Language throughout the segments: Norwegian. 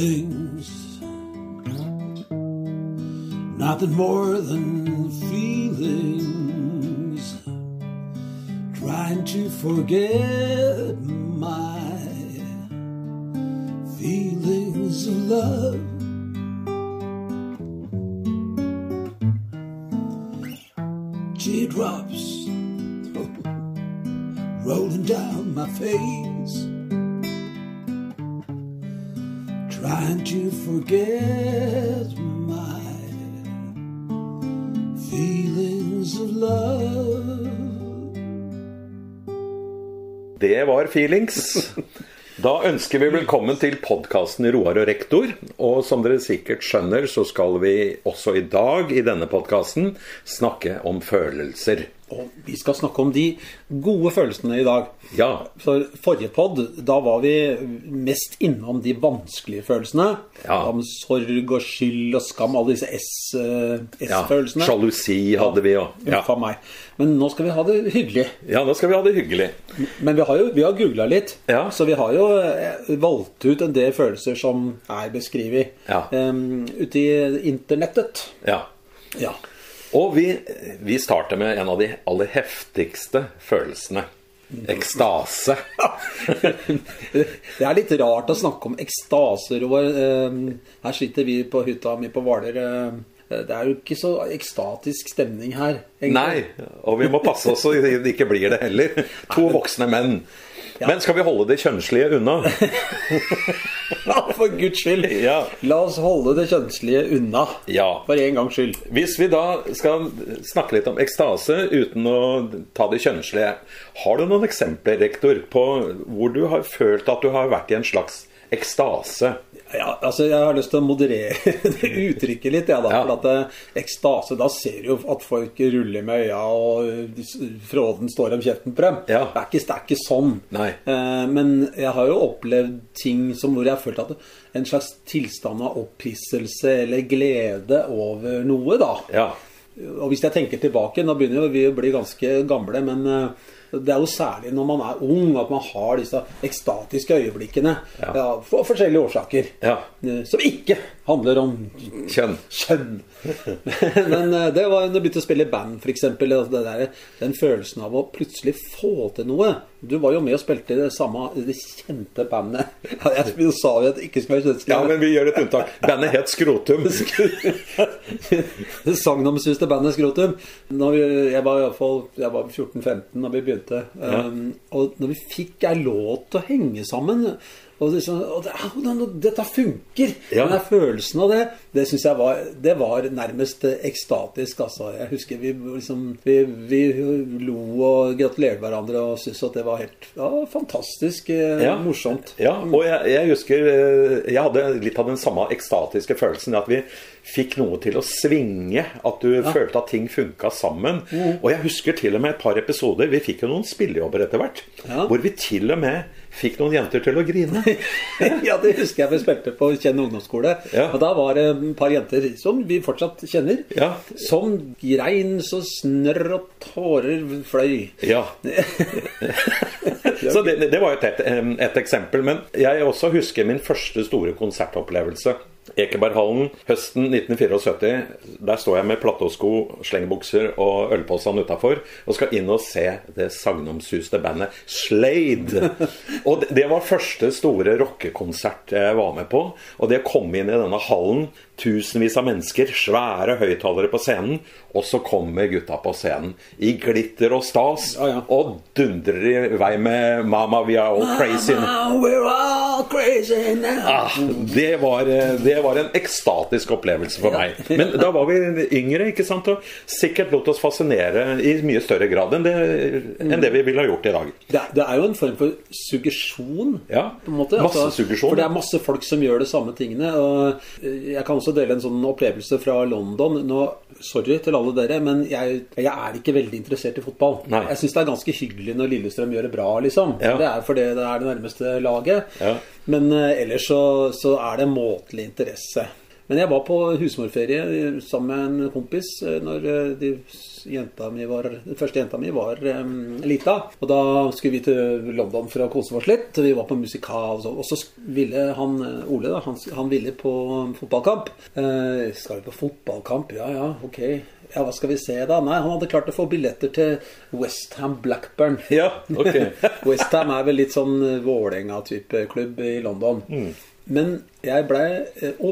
Feelings. Nothing more than feelings. Trying to forget my feelings of love. Teardrops rolling down my face. trying to forget my feelings of love. Det var feelings. Da ønsker vi velkommen til podkasten Roar og rektor. Og som dere sikkert skjønner, så skal vi også i dag i denne podkasten snakke om følelser. Og vi skal snakke om de gode følelsene i dag. Ja. For forrige pod, da var vi mest innom de vanskelige følelsene. Ja. Om sorg og skyld og skam, alle disse S, eh, ja. S-følelsene. Sjalusi hadde vi òg. Ja. Uff a meg. Men nå skal vi ha det hyggelig. ja, nå skal vi ha det hyggelig. Men vi har jo vi har googla litt, Ja. så vi har jo eh, valgt ut en del følelser som er beskrevet Ja. em, ute i internettet. Ja. Ja. Og vi, vi starter med en av de aller heftigste følelsene. Ekstase. Det er litt rart å snakke om ekstaser og eh, Her sitter vi på hytta mi på Hvaler. eh, Det er jo ikke så ekstatisk stemning her. egentlig. Nei, og vi må passe oss så det ikke blir det heller. To voksne menn. Men skal vi holde det kjønnslige unna? For guds skyld! Ja. La oss holde det kjønnslige unna. Ja. For en gangs skyld. Hvis vi da skal snakke litt om ekstase uten å ta det kjønnslige, har du noen eksempler, rektor, på hvor du har følt at du har vært i en slags ekstase? Ja, altså Jeg har lyst til å moderere det uttrykket litt. Ja, da, Ja. for at eh, Ekstase, da ser du jo at folk ruller med øya og eh, s- fråden står om kjeften på dem. Ja. Det, er ikke, det er ikke sånn. Nei. Eh, men jeg har jo opplevd ting som hvor jeg har følt at en slags tilstand av opphisselse eller glede over noe, da. Ja. Og hvis jeg tenker tilbake, nå begynner jo vi å bli ganske gamle, men eh, det er jo særlig når man er ung at man har disse ekstatiske øyeblikkene. Ja. Ja, for forskjellige årsaker. Ja. Eh, Som ikke handler om Kjønn. kjønn. men eh, det var da jeg begynte å spille i band, f.eks. Den følelsen av å plutselig få til noe. Du var jo med og spilte i det samme det kjente bandet. Ja, Jeg du sa jo at det ikke skulle være kjønnsskrevet. Ja, men vi gjør et unntak. Bandet het Skrotum. Det sagnomsuste bandet Skrotum. Når vi, jeg var i hvert fall Jeg var 14-15 da vi begynte. Um, og når vi fikk ei låt til å henge sammen og liksom, og det, au, den- Dette funker! Ja. Den der følelsen av det, det syns jeg var Det var nærmest eh, ekstatisk, altså. Jeg husker vi liksom Vi, vi lo og gratulerte hverandre og syntes at det var helt ja, fantastisk eh, Ja. morsomt. Ja, og jeg, jeg husker eh, Jeg hadde litt av den samme ekstatiske følelsen. At vi fikk noe til å svinge. At du følte at ting funka sammen. Mm. Og jeg husker til og med et par episoder. Vi fikk jo noen spillejobber etter hvert. Ja. Hvor vi til og med fikk noen jenter til å grine. ja, det husker jeg vi spilte på Kjenn ungdomsskole. Ja. Og da var det et par jenter som vi fortsatt kjenner, Ja. som grein så snørr og tårer fløy. Ja. Så det, det var jo et, et, et eksempel. Men jeg også husker min første store konsertopplevelse. Ekeberghallen høsten 1974. Der står jeg med platåsko, slengebukser og ølposene utafor og skal inn og se det sagnomsuste bandet Slade. Og det, det var første store rockekonsert jeg var med på. Og det å komme inn i denne hallen, tusenvis av mennesker, svære høyttalere på scenen, og så kommer gutta på scenen i glitter og stas Ja, ja. og dundrer i vei med 'Mama, we are all crazy'. Now we're all crazy now. Ah, det, var, eh, det var en ekstatisk opplevelse for meg. Men da var vi yngre, ikke sant? og sikkert lot oss fascinere i mye større grad enn det, enn det vi ville ha gjort i dag. Det, er- det er jo en form for suggesjon. Ja, på en måte. Altså, masse suggesjon. For det er masse folk som gjør det samme tingene. Og eh, jeg kan også dele en sånn opplevelse fra London. Nå, sorry til alle dere, men jeg, jeg er ikke veldig interessert i fotball. Nei. Jeg syns det er ganske hyggelig når Lillestrøm gjør det bra, liksom. Ja. Det er fordi det er det nærmeste laget. Ja. Men eh, ellers så, så er det måtelig interesse. Men jeg var på husmorferie eh, sammen med en kompis eh, når eh, de s- jenta mi var, den første jenta mi var eh, lita. Og da skulle vi til London for å kose oss litt. Vi var på musikal og sånn. Og så sk- ville han eh, Ole, da, han, s- han ville på eh, fotballkamp. Eh, skal vi på fotballkamp? Ja ja, ok. Ja, hva skal vi se da? Nei, han hadde klart å få billetter til Westham Blackburn. Ja, ok. Westham er vel litt sånn eh, Vålerenga-type klubb i London. Mm. Men jeg blei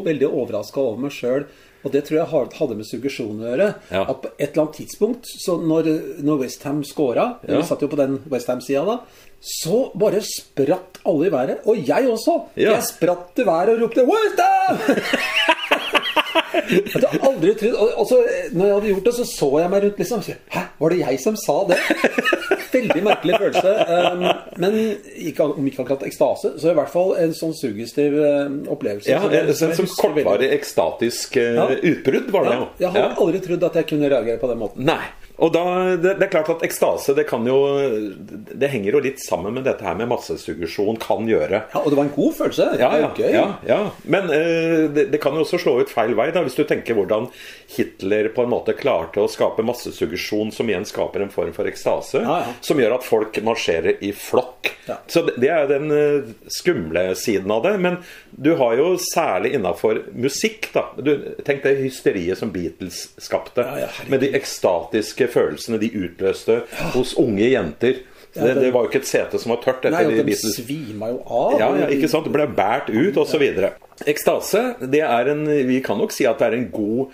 veldig overraska over meg sjøl, og det tror jeg har- hadde med suggesjon å gjøre. Ja. At på et eller annet tidspunkt, så når, eh, når Westham scora Ja. Vi satt jo på den Westham-sida da. Så bare spratt alle i været, og jeg også. Ja. Jeg spratt i været og ropte 'Westham!' Jeg hadde aldri trodd og- og så, Når jeg hadde gjort det, så så jeg meg rundt liksom. så, Hæ, var det jeg som sa det? Veldig merkelig følelse. um, Men ikke, om ikke akkurat ekstase, så i hvert fall en sånn suggestiv um, opplevelse. Ja, som jeg- en som sånn jeg som husker veldig. kortvarig ekstatisk eh, Ja. utbrudd, var det Ja, jo. jeg hadde Ja. aldri trodd at jeg kunne reagere på den måten. Nei. Og da, det, det er klart at ekstase det kan jo Det henger jo litt sammen med dette her med massesuggesjon kan gjøre. Ja, Og det var en god følelse. Det Ja, var ja, gøy. ja, ja. Men eh, det, det kan jo også slå ut feil vei, da, hvis du tenker hvordan Hitler på en måte klarte å skape massesuggesjon, som igjen skaper en form for ekstase, Ja, ja. som gjør at folk marsjerer i flokk. Ja. Så det, det er jo den eh, skumle siden av det. Men du har jo særlig innafor musikk, da. Du, tenk det hysteriet som Beatles skapte, Ja, ja, herregud. med de ekstatiske følelsene de utløste hos unge jenter. Det, det var jo ikke et sete som var tørt Nei, etter og de de Beatles. svima jo av. Ja, ja, ikke sant? Det ble båret ut, osv. Ekstase, det er en Vi kan nok si at det er en god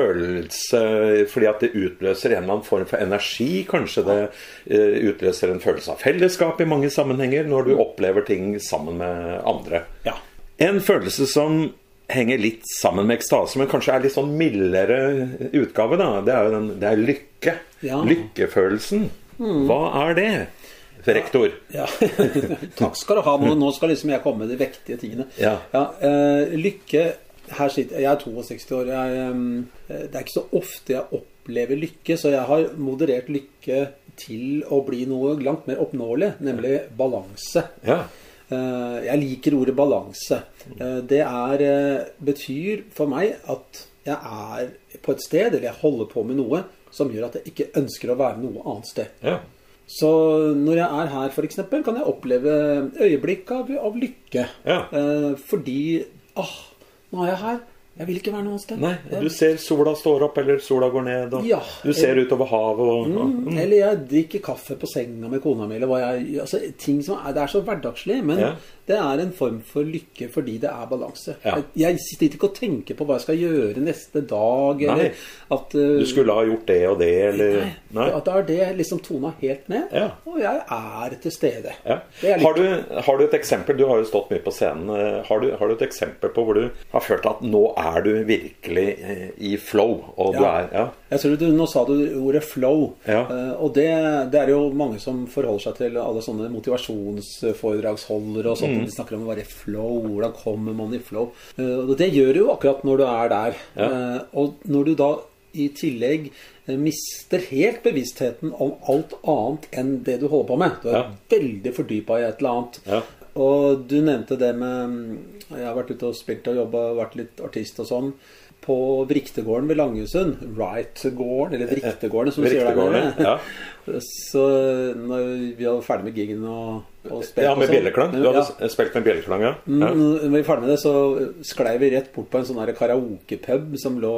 følelse fordi at det utløser en eller annen form for energi. Kanskje det eh, utløser en følelse av fellesskap i mange sammenhenger når du opplever ting sammen med andre. Ja. En følelse som henger litt sammen med ekstase, men kanskje er litt sånn mildere utgave, da, det er jo den Det er lykke. Ja. Lykkefølelsen. Hva er det, rektor? Ja. Takk skal du ha. Nå, nå skal liksom jeg komme med de vektige tingene. Ja. eh, lykke her sitter, Jeg er 62 år. Jeg, ehm, eh, det er ikke så ofte jeg opplever lykke, så jeg har moderert lykke til å bli noe langt mer oppnåelig, nemlig balanse. Ja. Eh, Jeg liker ordet balanse. Eh, Det er, eh, betyr for meg at jeg er på et sted, eller jeg holder på med noe, som gjør at jeg ikke ønsker å være noe annet sted. ja. Så når jeg er her, f.eks., kan jeg oppleve øyeblikk av, av lykke. Ja. Eh, fordi Ah, nå er jeg her. Jeg vil ikke være noe annet sted. Nei, Eh, du ser sola står opp, eller sola går ned, og Ja. du ser utover havet og, og Mm, Eller jeg drikker kaffe på senga med kona mi, eller hva jeg altså, ting som er, Det er så hverdagslig, men Ja. det er en form for lykke fordi det er balanse. Ja. Jeg, jeg sitter ikke og tenker på hva jeg skal gjøre neste dag, Nei. eller at eh, Du skulle ha gjort det og det, eller Nei. At da er det liksom tona helt ned, Ja. og jeg er til stede. Ja. Det er litt- Har, du, har du et eksempel Du har jo stått mye på scenen. eh, Har du, har du et eksempel på hvor du har følt at nå er du virkelig eh, i flow? Og du Ja. er ja. Jeg tror du, Nå sa du ordet 'flow'. Ja. Eh, og det, det er jo mange som forholder seg til alle sånne motivasjonsforedragsholdere og Mm. sånt. De snakker om å være i flow. Hvordan kommer man i flow? Eh, og det gjør du jo akkurat når du er der. Eh, og når du da i tillegg eh, mister helt bevisstheten om alt annet enn det du holder på med. Du er Ja. veldig fordypa i et eller annet. Ja. Og du nevnte det med mm, Jeg har vært ute og spilt og jobba, vært litt artist og sånn. På Vriktegården ved Langesund. Wright-gården, eller Vriktegården, som du sier der Vriktegården, nede. Så når vi var ferdig med gigen og, og spilt ja, og med sånn- bjelleklang. Du hadde Ja. Mm, s- spilt med bjelleklang, ja. ja. Når vi var ferdig med det, så sklei vi rett bort på en sånn her karaokepub som lå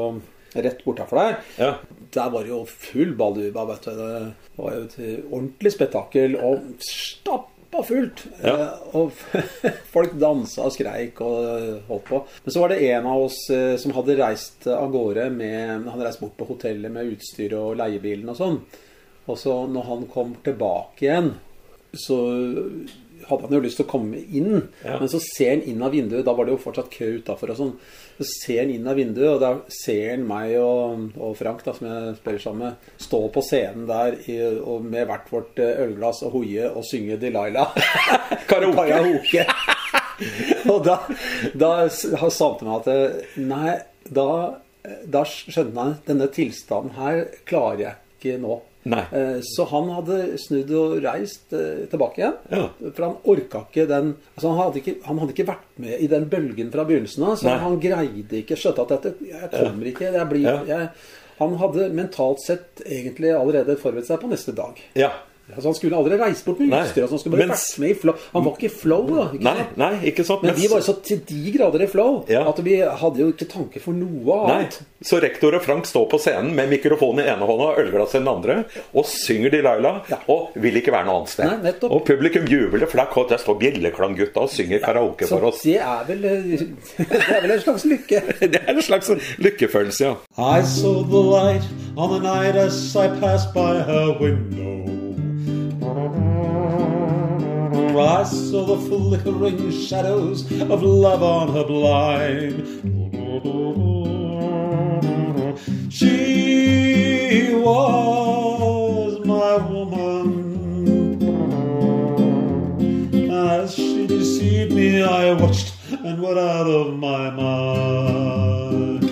rett bortafor der. Ja. Der var det jo full baluba, vet du. Det var jo et ordentlig spetakkel, og stappa fullt. Ja. Eh, Og folk dansa og skreik og holdt på. Men så var det en av oss eh, som hadde reist av gårde med Han hadde reist bort på hotellet med utstyr og leiebilen og sånn. Og så når han kom tilbake igjen, så hadde han jo lyst til å komme inn. Ja. Men så ser han inn av vinduet, da var det jo fortsatt kø utafor og sånn. Så ser han inn av vinduet, og da ser han meg og, og Frank, da, som jeg spiller sammen med, stå på scenen der i, og med hvert vårt eh, ølglass og hoie og synge Delilah. Karaoke. Karaoke. og da, da s- har samte meg at eh, Nei, da, da skjønner jeg denne tilstanden her klarer jeg ikke nå. Nei. Eh, Så han hadde snudd og reist eh, tilbake igjen. Ja. For han orka ikke den altså han, hadde ikke, han hadde ikke vært med i den bølgen fra begynnelsen av. Så Nei. han greide ikke skjøtta at dette Jeg kommer ikke. Jeg blir, Ja. jeg, han hadde mentalt sett egentlig allerede forberedt seg på neste dag. Ja. Altså Han skulle aldri reist bort med Nei. utstyr. Altså han skulle bare Mens- vært med i flow. Han var ikke i flow, da. Ikke Nei, sant? nei, ikke sant. Men de var jo så til de grader i flow Ja. at vi hadde jo ikke tanke for noe Nei, annet. Så rektor og Frank står på scenen med mikrofonen i ene hånda og ølglasset i den andre, og synger Delilah Ja. og vil ikke være noe annet sted. Nei, nettopp. og publikum jubler, for der, kom- der står Bjelleklanggutta og synger karaoke Så for oss. det er vel eh, Det er vel en slags lykke. Det er en slags lykkefølelse, ja. I saw the light on the night as I passed by her window. I saw the flickering shadows of love on her blind. She was my woman. As she deceived me, I watched and went out of my mind.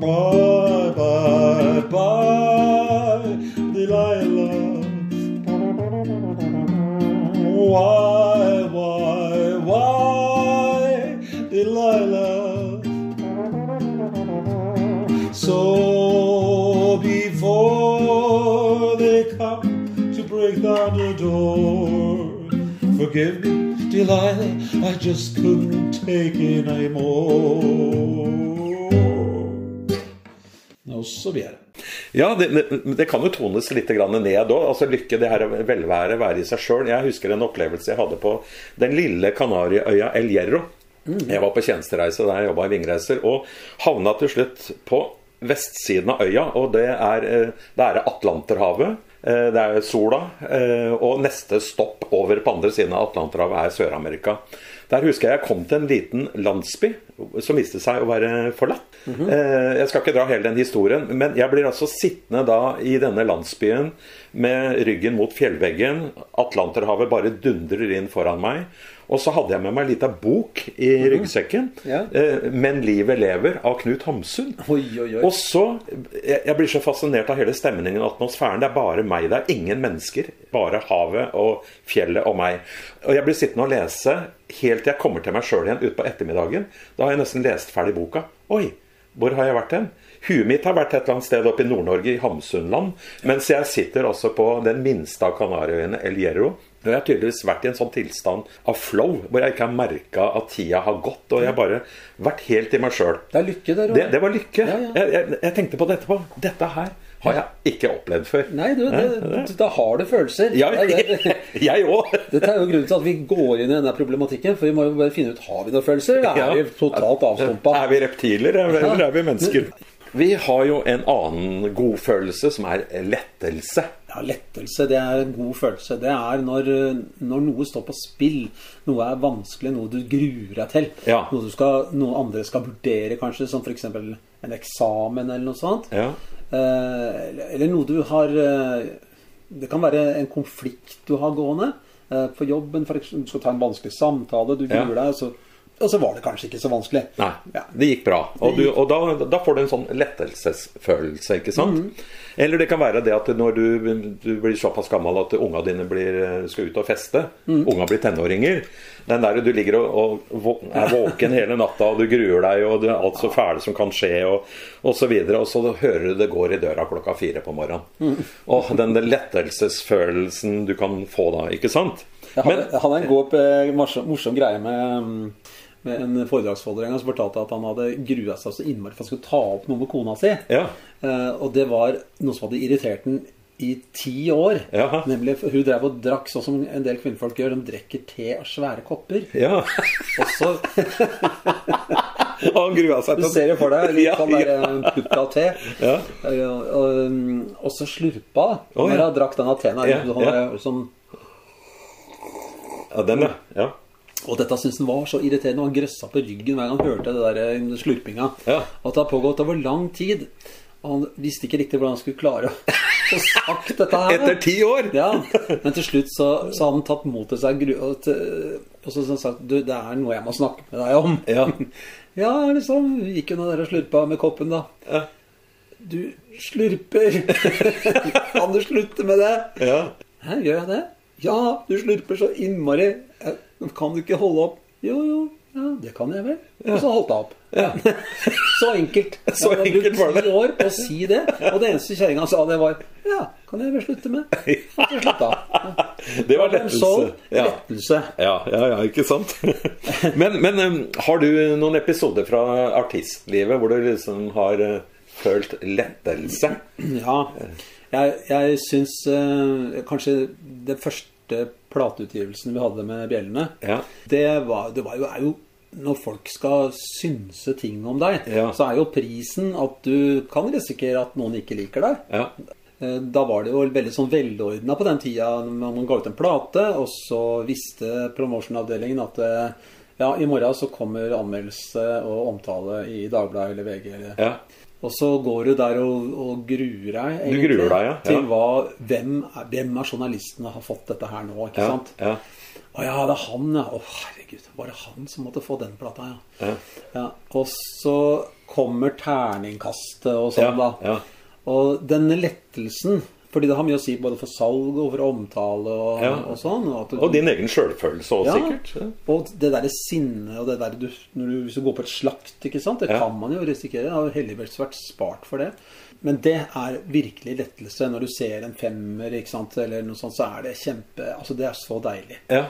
Bye, bye, bye, Delilah. Why, why, why, Delilah? So before they come to break down the door, forgive me, Delilah, I just couldn't take it anymore. Og så vi er her. Ja, det, det- det kan jo tones litt grann ned òg. Altså, lykke, det her velvære, være i seg sjøl. Jeg husker en opplevelse jeg hadde på den lille Kanariøya El Hierro. Jeg var på tjenestereise der jeg jobba i Vingreiser, og havna til slutt på vestsiden av øya. Og det er, eh, det er Atlanterhavet. eh, Det er sola. eh, Og neste stopp over på andre siden av Atlanterhavet er Sør-Amerika. Der husker jeg jeg kom til en liten landsby som viste seg å være forlatt. Mhm. Eh, Jeg skal ikke dra hele den historien, men jeg blir altså sittende da i denne landsbyen med ryggen mot fjellveggen. Atlanterhavet bare dundrer inn foran meg. Og så hadde jeg med meg en liten bok i ryggsekken. Mhm. Ja. eh, 'Men livet lever' av Knut Hamsun. Oi, oi, oi. Og så, jeg, jeg blir så fascinert av hele stemningen og atmosfæren. Det er bare meg, det er ingen mennesker. Bare havet og fjellet og meg. Og jeg blir sittende og lese helt til jeg kommer til meg sjøl igjen utpå ettermiddagen. Da har jeg nesten lest ferdig boka. Oi, hvor har jeg vært hen? Huet mitt har vært et eller annet sted oppe i Nord-Norge, i Hamsunland. Mens jeg sitter altså på den minste av Kanariøyene, El Hierro. Nå har jeg tydeligvis vært i en sånn tilstand av flow, hvor jeg ikke har merka at tida har gått. Og jeg har bare vært helt i meg sjøl. Det er lykke der Det, det var lykke. Ja, ja. Jeg, jeg, jeg tenkte på det etterpå. Dette her har jeg ikke opplevd før. Nei, du, det, da har du følelser. Ja, Det er det. jeg òg. Dette er jo grunnen til at vi går inn i denne problematikken. For vi må jo bare finne ut har vi noen følelser, eller er vi totalt avstumpa? Er vi reptiler, eller er vi mennesker? Vi har jo en annen godfølelse, som er lettelse. Ja, lettelse, det er en god følelse. Det er når, eh, når noe står på spill, noe er vanskelig, noe du gruer deg til. Ja. Noe, du skal, noe andre skal vurdere, kanskje, som f.eks. en eksamen eller noe sånt. Ja. Eh, eller- eller noe du har eh, Det kan være en konflikt du har gående eh, på jobben. For eksempel, du skal ta en vanskelig samtale, du gruer Ja. deg, og så, og så var det kanskje ikke så vanskelig. Nei, Ja. det gikk bra. Og, du, og da, da får du en sånn lettelsesfølelse, ikke sant? Eller det kan være det at når du, du blir såpass gammel at unga dine blir, skal ut og feste, Mm. unga blir tenåringer, den der du ligger og, og vå- er våken hele natta, og du gruer deg, og det er alt så fæle som kan skje, og, og så videre, og så hører du det går i døra klokka fire på morgenen. Mm. Og den lettelsesfølelsen du kan få da, ikke sant? Jeg hadde, Men- jeg hadde en god, eh, morsom, morsom greie med, mm, med en foredragsholder en gang som fortalte at han hadde grua seg så innmari for han skulle ta opp noe med kona si. Ja. Eh, og det var noe som hadde irritert den i ti år. Jaha. Nemlig, for hun drev og drakk sånn som en del kvinnfolk gjør. De drikker te av svære kopper. ja. Og så Og han grua seg Du ser jo for deg litt Ja, sånn der ja. eh, putt av te. Ja. Eh, Og, mm, og så slurpa Å, når ja. han drakk denne teen. Ja, Sånn, ja. eh, sånn, Ja, den, ja. ja. Og dette syntes han var så irriterende, og han grøssa på ryggen hver gang han hørte det der eh, slurpinga. Ja. Og At det har pågått over lang tid. Og han visste ikke riktig hvordan han skulle klare å få sagt dette her. Etter ti år! Ja, Men til slutt så, så hadde han tatt mot til seg gru- og, til- og så så sagt du, det er noe jeg må snakke med deg om. Ja. ja liksom. Gikk unna der og slurpa med koppen, da. Du slurper! kan du slutte med det? Ja. Hæ, gjør jeg det? Ja, du slurper så innmari. Eh, Kan du ikke holde opp? Jo, jo, ja, det kan jeg vel. Og så holdt jeg opp. så enkelt. Så jeg hadde enkelt var brukt det. ti år på å si det, og det eneste kjerringa sa, det var Ja, kan jeg vel slutte med? Og så slutta jeg. Ja. Det var Problem solved. lettelse. Ja. lettelse. Ja, ja, ja, ikke sant? men, men eh, har du noen episoder fra artistlivet hvor du liksom har eh, følt lettelse? Ja, jeg, jeg syns eh, kanskje den første plateutgivelsen vi hadde med Bjellene, Ja. det, var, det var jo, er jo når folk skal synse ting om deg, Ja. så er jo prisen at du kan risikere at noen ikke liker deg. Ja. Eh, Da var det jo veldig sånn velordna på den tida. når Man ga ut en plate, og så visste promotionavdelingen at eh, ja, i morgen så kommer anmeldelse og omtale i Dagbladet eller VG. Eller. Ja. Og så går du der og, og gruer deg egentlig, gruer deg, ja, ja. til hva, hvem, er- hvem av journalistene har fått dette her nå. ikke Ja, sant? ja. Å ja, det er han, ja. Å herregud, var det han som måtte få den plata, ja. Ja. Ja, og så kommer terningkastet og sånn, Ja, da. ja. Og denne lettelsen fordi det har mye å si både for salg og for omtale og, Ja. og sånn. Og, at du- Og din egen sjølfølelse òg, ja. sikkert. Ja. Og det derre sinnet og det der du, når du, Hvis du går på et slakt, ikke sant? det Ja. kan man jo risikere. Det har jo heldigvis vært spart for det. Men det er virkelig lettelse. Når du ser en femmer ikke sant? eller noe sånt, så er det kjempe Altså, det er så deilig. Ja.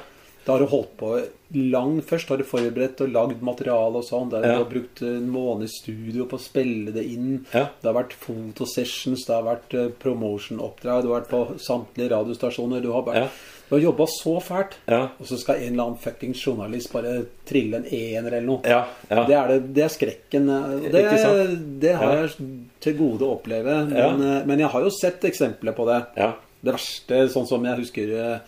Da har du holdt på lang Først har du forberedt og lagd materiale og sånn. Der Ja. Du har brukt en måned i studio på å spille det inn. Ja. Det har vært fotosessions, det har vært eh, promotion-oppdrag, du har vært på samtlige radiostasjoner. Du har, vært- Ja. du har jobba så fælt, Ja. og så skal en eller annen fuckings journalist bare trille en ener eller noe. Ja, ja. Det, er det, det er skrekken. eh, og Det, Ikke sant? det har Ja. jeg til gode å oppleve. Men, Ja. eh, men jeg har jo sett eksempler på det. Ja. Det verste, sånn som jeg husker eh,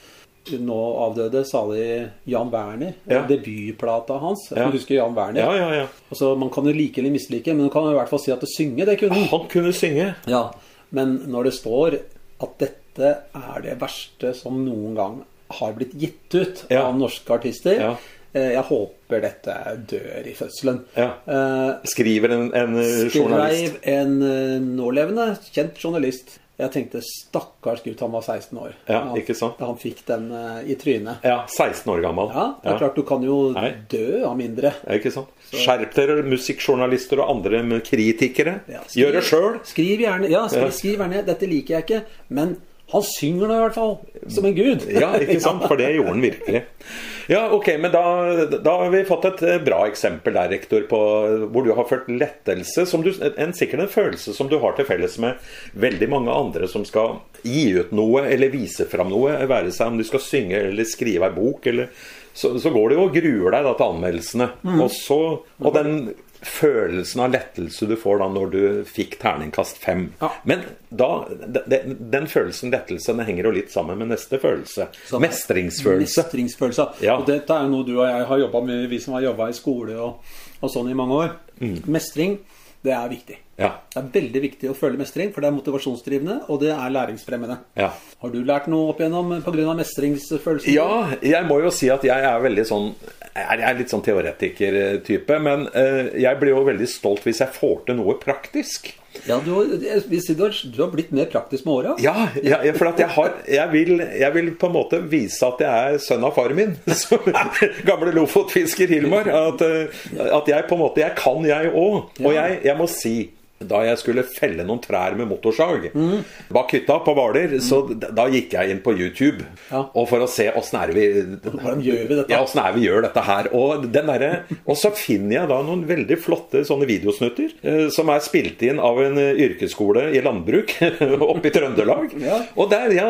nå avdøde, salig Jan Werner. Ja. Debutplata hans. Ja. Du husker Jan Werner? Ja, ja, ja. Altså, man kan jo like eller mislike, men du kan i hvert fall si at det synge, det kunne han. Han kunne synge. Ja. Men når det står at dette er det verste som noen gang har blitt gitt ut Ja. av norske artister Ja. eh, Jeg håper dette dør i fødselen. Ja. Eh, Skriver en, en eh, Skreiv journalist. en eh, nålevende, kjent journalist. Jeg tenkte stakkars gutt, han var 16 år. Ja, han, ikke sant? da Han fikk den eh, i trynet. Ja, 16 år gammel. Ja, det er klart du kan jo Nei. dø av mindre. Ja, ikke sant? Skjerp dere, musikkjournalister og andre med kritikere. Ja, skriv- Gjør det sjøl. Skriv gjerne ja, Ja. skriv, skriv gjerne 'dette liker jeg ikke', men han synger nå i hvert fall. Som en gud. Ja, ikke sant? For det gjorde han virkelig. Ja, ok, men da, da har vi fått et eh, bra eksempel der, rektor, på eh, hvor du har følt lettelse. Som du, en, sikkert en følelse som du har til felles med veldig mange andre som skal gi ut noe eller vise fram noe. Være seg om du skal synge eller skrive ei bok, eller så, så går du jo og gruer deg da til anmeldelsene. Og, så, og den følelsen av lettelse du får da når du fikk terningkast fem. Ja. Men da, den, den følelsen lettelse den henger jo litt sammen med neste følelse. Sånn. Mestringsfølelse. Mestringsfølelse. Ja. Og dette er jo noe du og jeg har jobba med, vi som har jobba i skole og, og sånn i mange år. Mestring, det er viktig. Mm. Ja. Det er veldig viktig å føle mestring, for det er motivasjonsdrivende, og det er læringsfremmende. Ja. Har du lært noe opp igjennom pga. mestringsfølelsen? ja, jeg må jo si at jeg er veldig sånn Jeg er litt sånn teoretiker-type, men eh, jeg blir jo veldig stolt hvis jeg får til noe praktisk. Ja, du, har- jeg vil si du, har, du har blitt mer praktisk med åra. Ja, ja ja, for at jeg, har, jeg, vil, jeg vil på en måte vise at jeg er sønn av faren min. Som gamle lofotfisker Hilmar. At, eh, at jeg på en måte Jeg kan, jeg òg. Og jeg, jeg må si da jeg skulle felle noen trær med motorsag bak hytta på Hvaler, så d- da gikk jeg inn på YouTube Mm. Ja. og for å se åssen er det vi Hvordan gjør vi dette? Ja, åssen er vi gjør dette her. Og, den derre- og så finner jeg da noen veldig flotte sånne videosnutter eh, som er spilt inn av en eh, yrkesskole i landbruk oppe i Trøndelag. Ja. Og der, ja,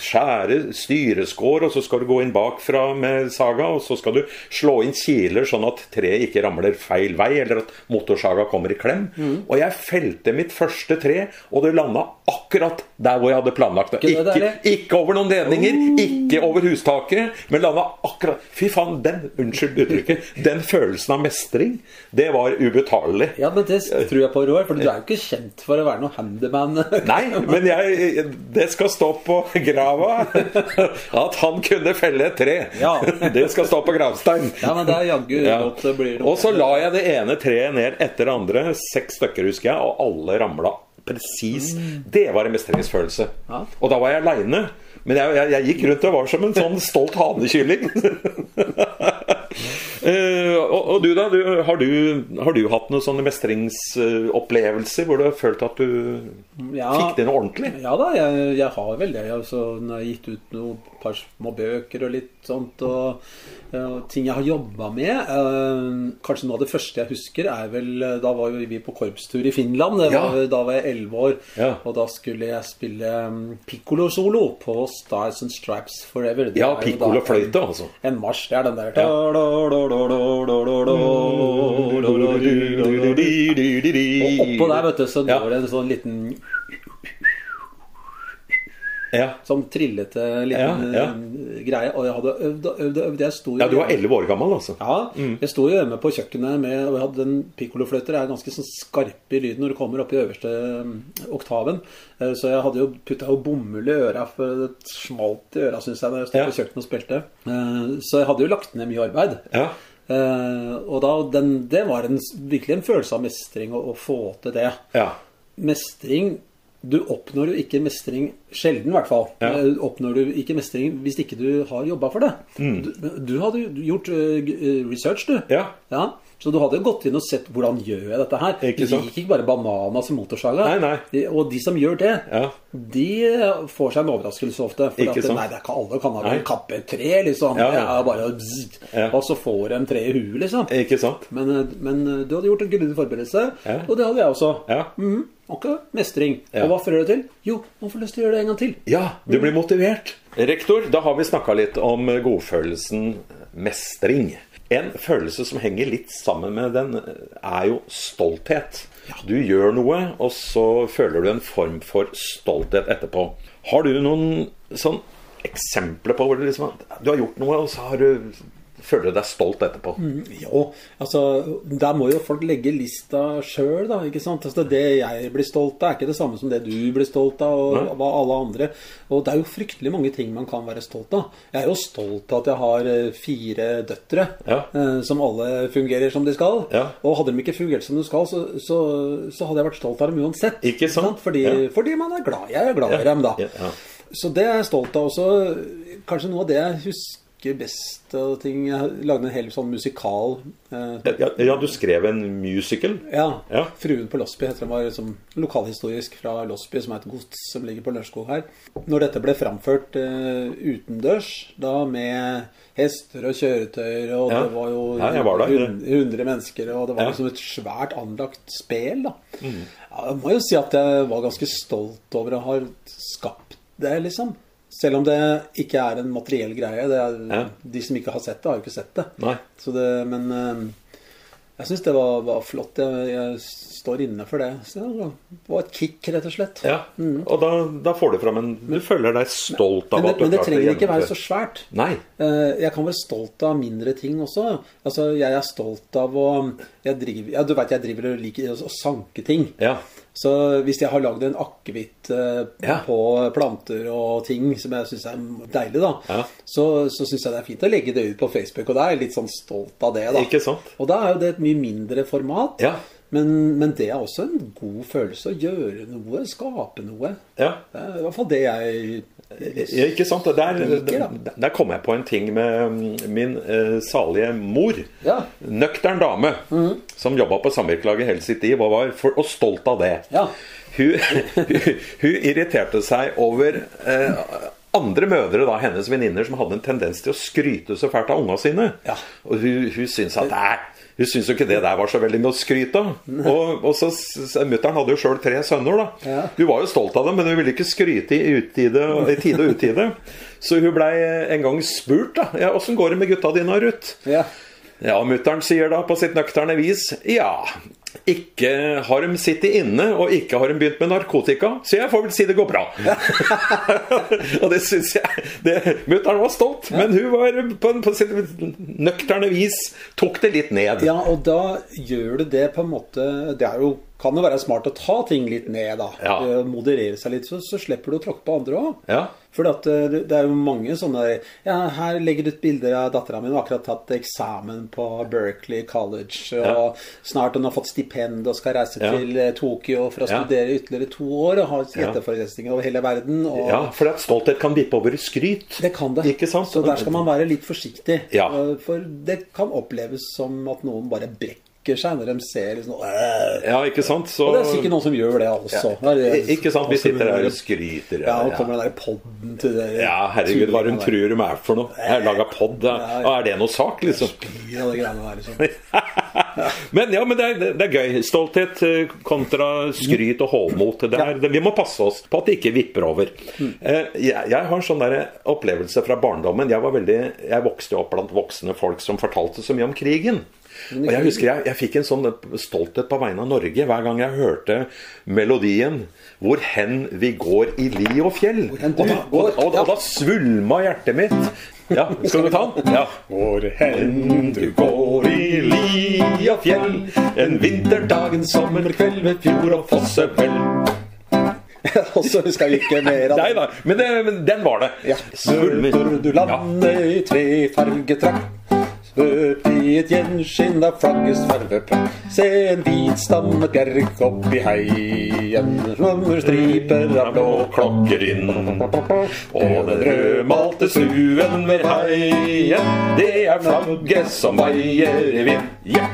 skjære styreskår, og så skal du gå inn bakfra med saga, og så skal du slå inn kiler sånn at treet ikke ramler feil vei, eller at motorsaga kommer i klem. Mm. Og jeg felte mitt første tre, og det landa akkurat der hvor jeg hadde planlagt det. Ikke det Ikke, deilig? ikke over noen ledninger, Oh. ikke over hustaket, men landa akkurat Fy faen, den, unnskyld uttrykket, den følelsen av mestring, det var ubetalelig. Ja, men det tror jeg på, Roar. For du er jo ikke kjent for å være noe handyman. Nei, men jeg, det skal stå på grava at han kunne felle et tre. Ja. Det skal stå på gravstein. Ja, men det er jaggu Ja. godt det blir noe. Og så la jeg det ene treet ned etter det andre. Seks stykker, husker jeg, og alle ramla presis. Det var en mestringsfølelse. Mm. Ja. Og da var jeg aleine. Men jeg, jeg, jeg gikk rundt og var som en sånn stolt hanekylling. Eh, og, og du, da? Du, har, du, har du hatt noen sånne mestringsopplevelser hvor du har følt at du Ja. fikk det noe ordentlig? Ja da, jeg, jeg har vel det. Altså, når jeg har gitt ut noen par små bøker og litt sånt, og, eh, ting jeg har jobba med. Eh, kanskje noe av det første jeg husker, er vel eh, Da var jo vi på korpstur i Finland. Det var, Ja. Da var jeg elleve år. Ja. Og da skulle jeg spille mm, piccolo-solo på Stars and Stripes Forever. Det Ja, er jo da pikkolofløyte, altså. En, en marsj. Det er den der Ja. Og Oppå oppå der, vet du, så Ja. går det en sånn liten Ja. Sånn trillete liten Ja, ja. eh, greie. Og jeg hadde øvd og øvd og øvd. Jeg sto jo ja, du var elleve år gammel, altså. Ja, jeg sto jo hjemme på kjøkkenet med og jeg hadde en pikkolofløyter. er ganske sånn skarp i lyden når du kommer opp i øverste eh, oktaven. Eh, Så jeg hadde jo putta jo bomull i øra, for det smalt i øra, syns jeg, da jeg sto Ja. på kjøkkenet og spilte. Eh, Så jeg hadde jo lagt ned mye arbeid. Ja. Eh, Og da, den, det var en, virkelig en følelse av mestring å, å få til det ja. mestring Du oppnår jo ikke mestring sjelden, i hvert fall. Ja. Eh, Oppnår du ikke mestring hvis ikke du har jobba for det. Du, du hadde jo gjort eh, g- eh, research, du. Mm. Ja. Så du hadde jo gått inn og sett hvordan gjør jeg dette her. Ikke Det sant? gikk ikke bare bananas i motorsaga. Nei, nei. De- Og de som gjør det, Ja. de eh, får seg en overraskelse ofte. For Ikke at, sant? nei, det er ikke alle kan ha Nei. en kappe et tre, liksom. Ja, Ja, ja. bare, bzzzt. Ja. Og så får de en tre i huet, liksom. Ikke sant? Men, eh, men eh, du hadde gjort en grundig forberedelse, Ja. og det hadde jeg også. Ja. Mhm, ok, mestring. Ja. Og hva fører det til? Jo, man får lyst til å gjøre det en gang til. Ja, du blir motivert. Rektor, da har vi snakka litt om godfølelsen mestring. En følelse som henger litt sammen med den, er jo stolthet. Du gjør noe, og så føler du en form for stolthet etterpå. Har du noen sånn eksempler på hvor du liksom Du har gjort noe, og så har du, føler du deg stolt etterpå? Mm. Jo, altså, der må jo folk legge lista sjøl, da. ikke sant? Altså, det jeg blir stolt av, er ikke det samme som det du blir stolt av, og Nei. hva alle andre. Og det er jo fryktelig mange ting man kan være stolt av. Jeg er jo stolt av at jeg har eh, fire døtre, Ja. eh, som alle fungerer som de skal. Ja. Og hadde de ikke fungert som de skal, så, så, så hadde jeg vært stolt av dem uansett. Ikke sant? Fordi, Ja. fordi man er glad. Jeg er glad i dem, da. Ja, ja. Så det er jeg stolt av også. Kanskje noe av det jeg husker best av ting Jeg lagde en hel sånn musikal. Eh, Ja, ja, du skrev en musical. ja. Ja. 'Fruen på Losby' heter den. var liksom lokalhistorisk fra Losby, som er et gods som ligger på Lørenskog her. Når dette ble framført eh, utendørs, da med hester og kjøretøyer, og Ja. det var jo Ja, jeg var der. hun- 100 mennesker, og det var Ja. Mm. liksom et svært anlagt spel, da. Ja, jeg må jo si at jeg var ganske stolt over å ha skapt det, liksom. Selv om det ikke er en materiell greie. Det er, Ja. De som ikke har sett det, har jo ikke sett det. Nei. Så det men eh, jeg syns det var, var flott. Jeg, jeg står inne for det. Så det var et kick, rett og slett. Ja, Og da, da får du fram en Du føler deg stolt av Mm. Men det, at du men det klarte å trenger ikke være gjennomføre. så svært. Nei. Eh, Jeg kan være stolt av mindre ting også. Altså, Jeg er stolt av å jeg driver, ja, Du veit jeg driver og liker å sanke ting. Ja. Så hvis jeg har lagd en akevitt eh, Ja. på planter og ting som jeg syns er deilig, da, Ja. så, så syns jeg det er fint å legge det ut på Facebook. Og da er jeg litt sånn stolt av det, da. Ikke sant? Og da er jo det et mye mindre format. Ja. Men, men det er også en god følelse å gjøre noe, skape noe. ja. Det er i hvert fall det jeg Ja, Ikke sant? Og Der, Liker, der, der kom jeg på en ting med mm, min eh, salige mor. Ja. Mhm. Nøktern dame som jobba på samvirkelaget hele sitt liv og var for, og stolt av det. Ja. Hun, hun, hun irriterte seg over eh, andre mødre, da, hennes venninner, som hadde en tendens til å skryte så fælt av unga sine. Ja. Og hun, hun syntes at nei, hun syntes jo ikke det der var så veldig noe å skryte av. Og, og så, så Mutter'n hadde jo sjøl tre sønner, da. Ja. Hun var jo stolt av dem, men hun ville ikke skryte i, utide, i tide og utide. Så hun blei en gang spurt, da. Ja, 'Åssen går det med gutta dine, Ruth?' Ja. Ja, mutter'n sier da på sitt nøkterne vis Ja, ikke har de sittet inne, og ikke har de begynt med narkotika, så jeg får vel si det går bra. og det syns jeg det, Mutter'n var stolt, men hun var på, på sitt nøkterne vis tok det litt ned. Ja, og da gjør du det på en måte Det er jo kan det være smart å ta ting litt ned, da. Ja. Eh, Moderere seg litt, så, så slipper du å tråkke på andre òg. Ja. For at eh, det det er jo mange sånne der, Ja, her legger du ut bilder av dattera mi. Hun har akkurat tatt eksamen på Berkeley College. Ja. Og snart hun har fått stipend og skal reise Ja. til eh, Tokyo for å Ja. studere ytterligere to år. Og ha gjetteforelesninger over hele verden. Og ja, for at stolthet kan vippe over i skryt. det kan det. Ikke sant? Så der skal man være litt forsiktig. Ja. Eh, For det kan oppleves som at noen bare brekker seg når de ser liksom, «Åh!» Ja, ikke sant? Så... Og det er sikkert noen som gjør det også. Det er det- I- Ikke sant? Vi også- sitter her og skryter. Ja, og kommer den der podden til det. Ja, herregud, hva hun tror hun er for noe. Jeg har laga pod. Ja, ja. Er det noe sak, liksom? Ja, det greiene der, liksom. Men ja, men det er, det er gøy. Stolthet eh, kontra skryt og hovmot. Det er, det, vi må passe oss på at det ikke vipper over. Eh, Jeg, jeg har en sånn der opplevelse fra barndommen. Jeg, var veldig, jeg vokste jo opp blant voksne folk som fortalte så mye om krigen. Og jeg husker jeg, jeg fikk en sånn stolthet på vegne av Norge hver gang jeg hørte melodien 'Hvor hen vi går i li og fjell'. hen Og du da, og, og, går, ja. og da svulma hjertet mitt. Ja, skal du ta den? Ja. Hvor hen du går i li og fjell, en vinterdag, en sommerkveld ved fjord og fossefjell. Og så husker jeg ikke mer av Nei da, men, det, men den var det. Ja. Svulmer du landet i trefargetrakt. Svøp i et gjenskinn av flaggets farveprakt. Se en hvitstammet bjerg oppi heien. Slummer striper av blå blå klokker inn. Og den rødmalte stuen ved heien, det er flagget som veier i vind. Ja!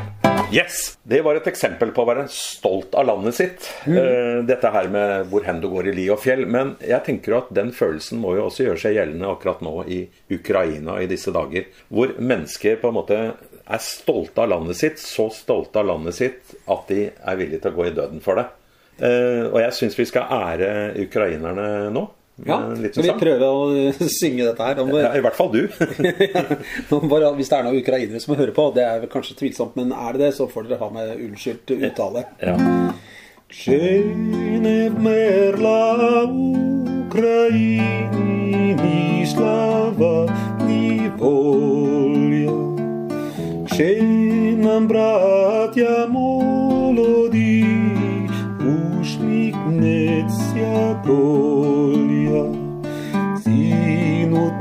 Yes! Det var et eksempel på å være stolt av landet sitt. Eh, Dette her med hvor hen du går i li og fjell. Men jeg tenker jo at den følelsen må jo også gjøre seg gjeldende akkurat nå i Ukraina i disse dager. Hvor mennesker på en måte er stolte av landet sitt, så stolte av landet sitt at de er villige til å gå i døden for det. Eh, og jeg syns vi skal ære ukrainerne nå. med Ja, en liten skal vi sang. prøve å eh, synge dette her? Nå må- sånn Ja, I hvert fall du. Nå må bare, hvis det er noen ukrainere som hører på, det er vel kanskje tvilsomt, men er det det, så får dere ha med unnskyldt uttale. ja. Чейне вмерла Україні ні слава, ні воля. Ще нам, браття молоді, усміхнеться доля. Цінуть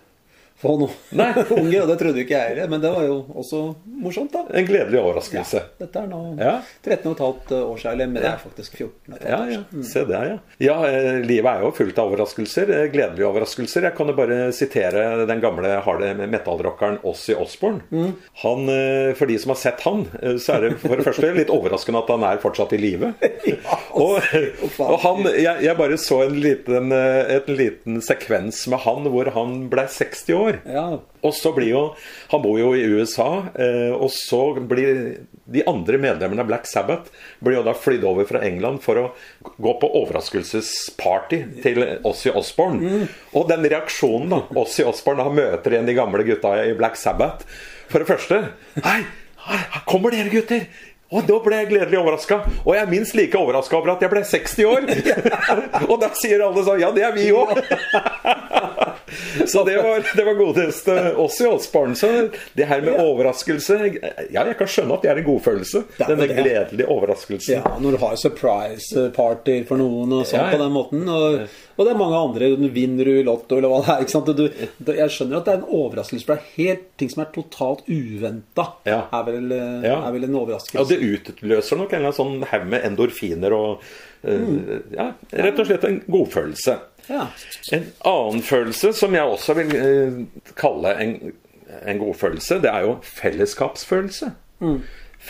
få noe Nei. unge. Og det trodde jo ikke jeg heller, men det var jo også morsomt, da. En gledelig overraskelse. Dette er nå Ja. 13 15 år siden, eller men det er faktisk 14 15 Ja, år ja. siden. Mm. Se der, ja. Ja, eh, livet er jo fullt av overraskelser. eh, Gledelige overraskelser. Jeg kan jo bare sitere den gamle harde metallrockeren Ossie Osborne. Han, eh, for de som har sett han, eh, så er det for det første litt overraskende at han er fortsatt i live. og, og han Jeg, jeg bare så en liten, eh, et liten sekvens med han hvor han ble 60 år. Ja. Og så blir jo, Han bor jo i USA, eh, og så blir de andre medlemmene av Black Sabbath blir jo da flydd over fra England for å gå på overraskelsesparty til Ossie Osborne. Og den reaksjonen da, Ossie Osborne da møter igjen de gamle gutta i Black Sabbath For det første Hei, her her kommer dere, gutter! Og da ble jeg gledelig overraska. Og jeg er minst like overraska over at jeg ble 60 år! og da sier alle sånn Ja, det er vi òg! Så det var, det var godeste oss i Åsbarn. Så det her med overraskelse Ja, jeg kan skjønne at det er en godfølelse. Det er jo Denne det. gledelige overraskelsen. Ja, når du har surprise-party for noen og sånn Ja, ja. på den måten. Og, og det er mange andre. du Vinner du i Lotto eller hva det er. ikke sant? Og Du, du, jeg skjønner at det er en overraskelse, for det er helt ting som er totalt uventa. Ja. Er, vel, eh, Ja. er vel en overraskelse. Og det utløser nok en eller annen sånn haug med endorfiner og eh, Ja, rett og slett en godfølelse. Mm. Ja. En annen følelse som jeg også vil eh, kalle en, en godfølelse, det er jo fellesskapsfølelse.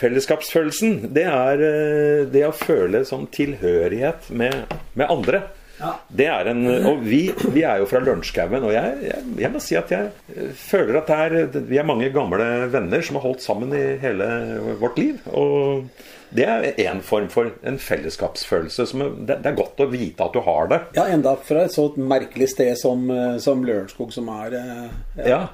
Fellesskapsfølelsen, det er eh, det å føle sånn tilhørighet med, med andre. Ja. Det er en, og vi, vi er jo fra Lørenskauen, og jeg, jeg, jeg må si at jeg eh, føler at det er, vi er mange gamle venner som har holdt sammen i hele vårt liv. Og det er en form for en fellesskapsfølelse. Som er, det, det er godt å vite at du har det. ja, enda fra et så merkelig sted som, eh, som Lørenskog, som er eh, Ja.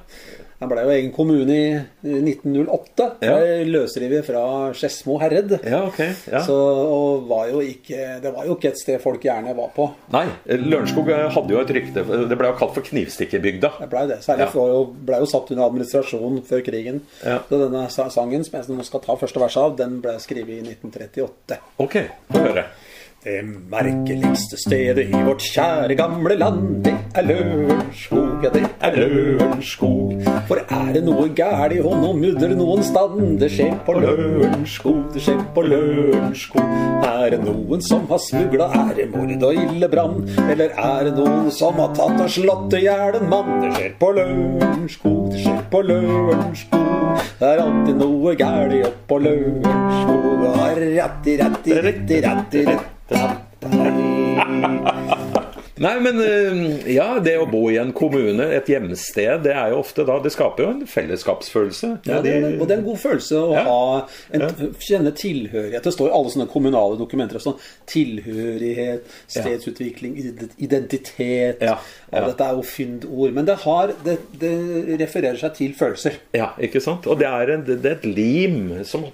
Den ble jo egen kommune i i 1908. Ja. Ble løsrevet fra Skedsmo herred. Ja, ok. Ja. Så, og var jo ikke, det var jo ikke et sted folk gjerne var på. Nei, Lørenskog eh, hadde jo et rykte Det ble jo kalt for knivstikkerbygda. Det ble det. Særlig Ja. for jo, ble jo satt under administrasjon før krigen. Ja. Så denne sa- sangen som jeg nå skal ta første vers av, den ble skrevet i 1938. Ok, få høre. Det merkeligste stedet i vårt kjære gamle land, det er Lørenskog, ja det er Lørenskog. For er det noe gæl i hånd og mudder noen stand, det skjer på Lørenskog, det skjer på Lørenskog. Er det noen som har smugla æremord og ille brann, eller er det noen som har tatt og slått i hjel en mann, det skjer på Lørenskog, det skjer på Lørenskog. Det er alltid noe gæli oppå Lørenskog, og ratti, ratti, ratti, ratti, Nei, men eh, ja, det å bo i en kommune, et hjemsted, det er jo ofte da Det skaper jo en fellesskapsfølelse. Ja, det, er- og det er en god følelse å Ja. ha en, kjenne tilhørighet. Det står i alle sånne kommunale dokumenter og sånn. Tilhørighet, stedsutvikling, ide- identitet. Ja, ja. Og dette er jo fyndord. Men det, har, det, det refererer seg til følelser. Ja, ikke sant? Og det er, en, det er et lim som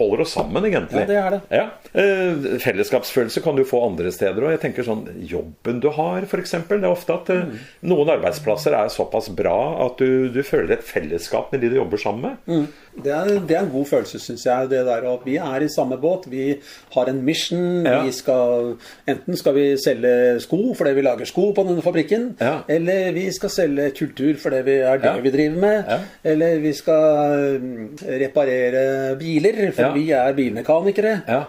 holder oss sammen, egentlig. Ja, det er det. Ja. Eh, fellesskapsfølelse kan du få andre steder òg. Jeg tenker sånn jobben du har, f.eks. Det er ofte at eh, Mm. Mm. noen arbeidsplasser er såpass bra at du, du føler et fellesskap med de du jobber sammen med. Det er, det er en god følelse, syns jeg. det der at Vi er i samme båt. Vi har en mission. Ja. Vi skal, enten skal vi selge sko fordi vi lager sko på denne fabrikken, Ja. eller vi skal selge kultur fordi vi er det Ja. vi driver med, Ja. eller vi skal mm, reparere biler, for Ja. vi er bilmekanikere. Ja.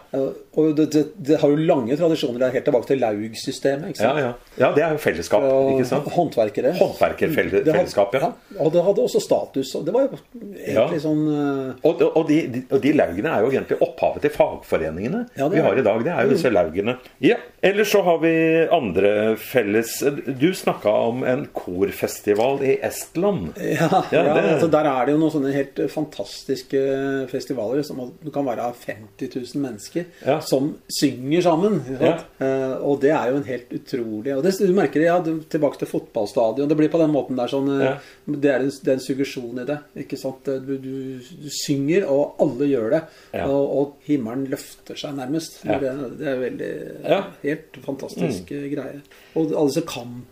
Og det, det, det har jo lange tradisjoner der, helt tilbake til Laug-systemet. ikke Ja, sant? ja. ja, det er jo fellesskap, Og ikke sant? Håndverkere. Det hadde- Håndverkerfellesskap, ja. Og det hadde også status. Og det var jo egentlig Ja. sånn eh, Og, og, de, de, og de laugene er jo egentlig opphavet til fagforeningene Ja, det vi er har det. Mm. i dag. Det er jo disse laugene. Ja, Ellers så har vi andre felles Du snakka om en korfestival i Estland. Ja, Ja, ja, det- altså der er det jo noen sånne helt eh, fantastiske eh, festivaler. Som det kan være 50 000 mennesker Ja. som synger sammen. ikke sant? Eh, og det er jo en helt utrolig og det, Du merker det, ja, du, tilbake til fotballstadion. Det blir på den måten der sånn eh, Det er en, det er en suggesjon i det. ikke sant? Eh, Du, du, du synger, og alle gjør det. Ja. Og, og himmelen løfter seg nærmest. Ja. Det, det er veldig Ja. Helt fantastisk Mm. eh, greie. Og alle disse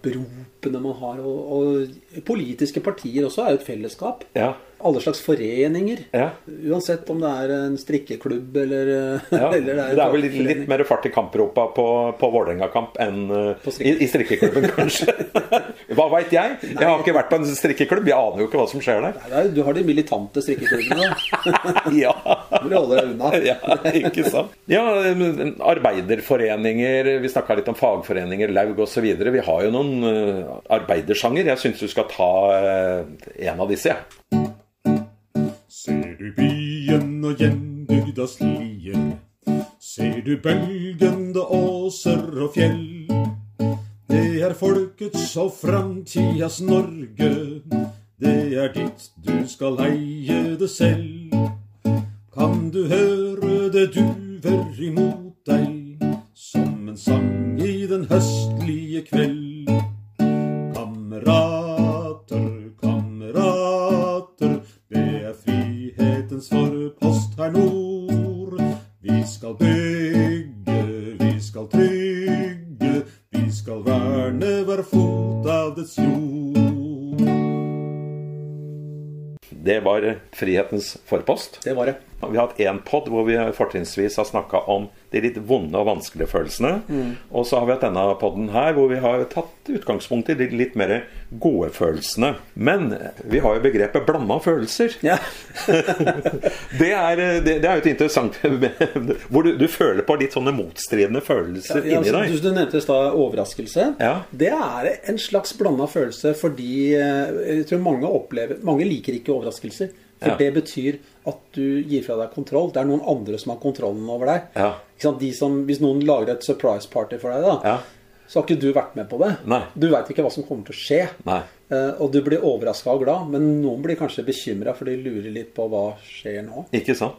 kampropene man har, og, og politiske partier også er jo et fellesskap. Ja. Alle slags foreninger. Ja. Uansett om det er en strikkeklubb eller, eh, Ja, eller det er vel litt, en litt mer fart i kampropa på, på Vålerenga-kamp enn eh, På strikke- i, i strikkeklubben, kanskje. hva veit jeg? Jeg har ikke vært på en strikkeklubb. Jeg aner jo ikke hva som skjer der. Nei, det er- Du har de militante strikkeklubbene. da. Ja, Du må holde deg unna. ja ikke sant? Ja, men arbeiderforeninger, vi snakka litt om fagforeninger, laug osv. Vi har jo noen eh, arbeidersanger. Jeg syns du skal ta eh, en av disse, jeg. Ja. Ser du byen og gjenbygdas lier? Ser du bølgende åser og fjell? Det er folkets og framtidas Norge. Det er ditt, du skal eie det selv. Kan du høre det duver imot deg, som en sang i den høstlige kveld? Kamerater, kamerater, det er frihetens forpost her nord. Vi skal bygge, vi skal trygge, vi skal verne hver fot av dets jord. Det var Frihetens forpost. Det var det. Vi har hatt én pod hvor vi fortrinnsvis har snakka om de litt vonde og vanskelige følelsene. Og så har vi hatt denne poden her hvor vi har tatt utgangspunkt i de litt mer gode følelsene. Men vi har jo begrepet 'blanda følelser'. Ja. det, er, eh, det, det er jo et interessant Hvor du, du føler på litt sånne motstridende følelser Ja, inni altså, deg. Du, du nevnte i stad overraskelse. Ja. Det er en slags blanda følelse fordi eh, jeg tror mange opplever Mange liker ikke overraskelser. For Ja. det betyr at du gir fra deg kontroll. Det er noen andre som har kontrollen over deg. Ja. Ikke sant? De som, hvis noen lager et surprise party for deg, da, Ja. så har ikke du vært med på det. Nei. Du veit ikke hva som kommer til å skje. Nei. Eh, Og du blir overraska og glad, men noen blir kanskje bekymra, for de lurer litt på hva skjer nå. Ikke sant?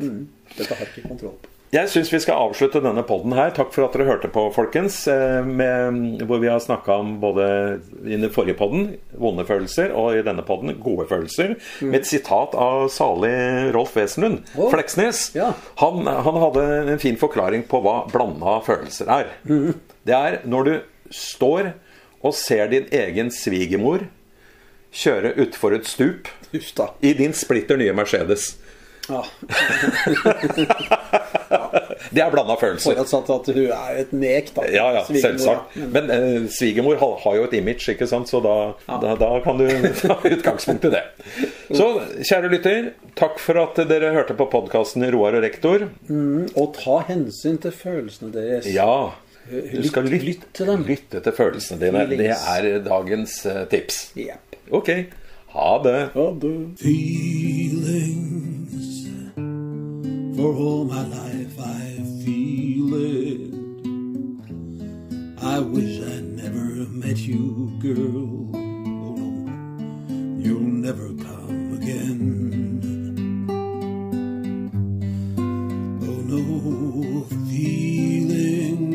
Dette har jeg ikke kontroll på. Jeg syns vi skal avslutte denne podden her. Takk for at dere hørte på, folkens. eh, Med, hvor vi har snakka om både i den forrige podden vonde følelser, og i denne podden gode følelser. Med et sitat av salig Rolf Wesenlund Mm. Å. Fleksnes. Ja. Han, han hadde en fin forklaring på hva blanda følelser er. Mm. Det er når du står og ser din egen svigermor kjøre utfor et stup Uff da. i din splitter nye Mercedes. Ja. Det er blanda følelser. Forutsatt at hun er et nek, da. Ja, ja, Svigermor, ja. selvsagt. Men- Men eh, svigermor har, har jo et image, ikke sant? så da, da, da kan du ta utgangspunkt i det. Så kjære lytter, takk for at dere hørte på podkasten Roar og rektor. Og ta hensyn til følelsene deres. Ja, du skal Lytt- lytte, lytt til dem. lytte til følelsene dine. Det er dagens eh, tips. Jepp. Ok, ha det. Ja, du... feelings. For all my life I feel it. I wish I never met you, girl. Oh no, you'll never come again. Oh no, feelings.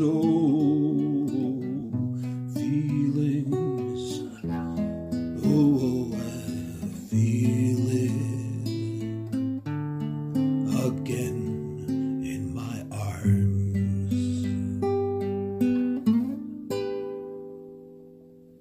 Oh, feelings. Oh, I feel it again.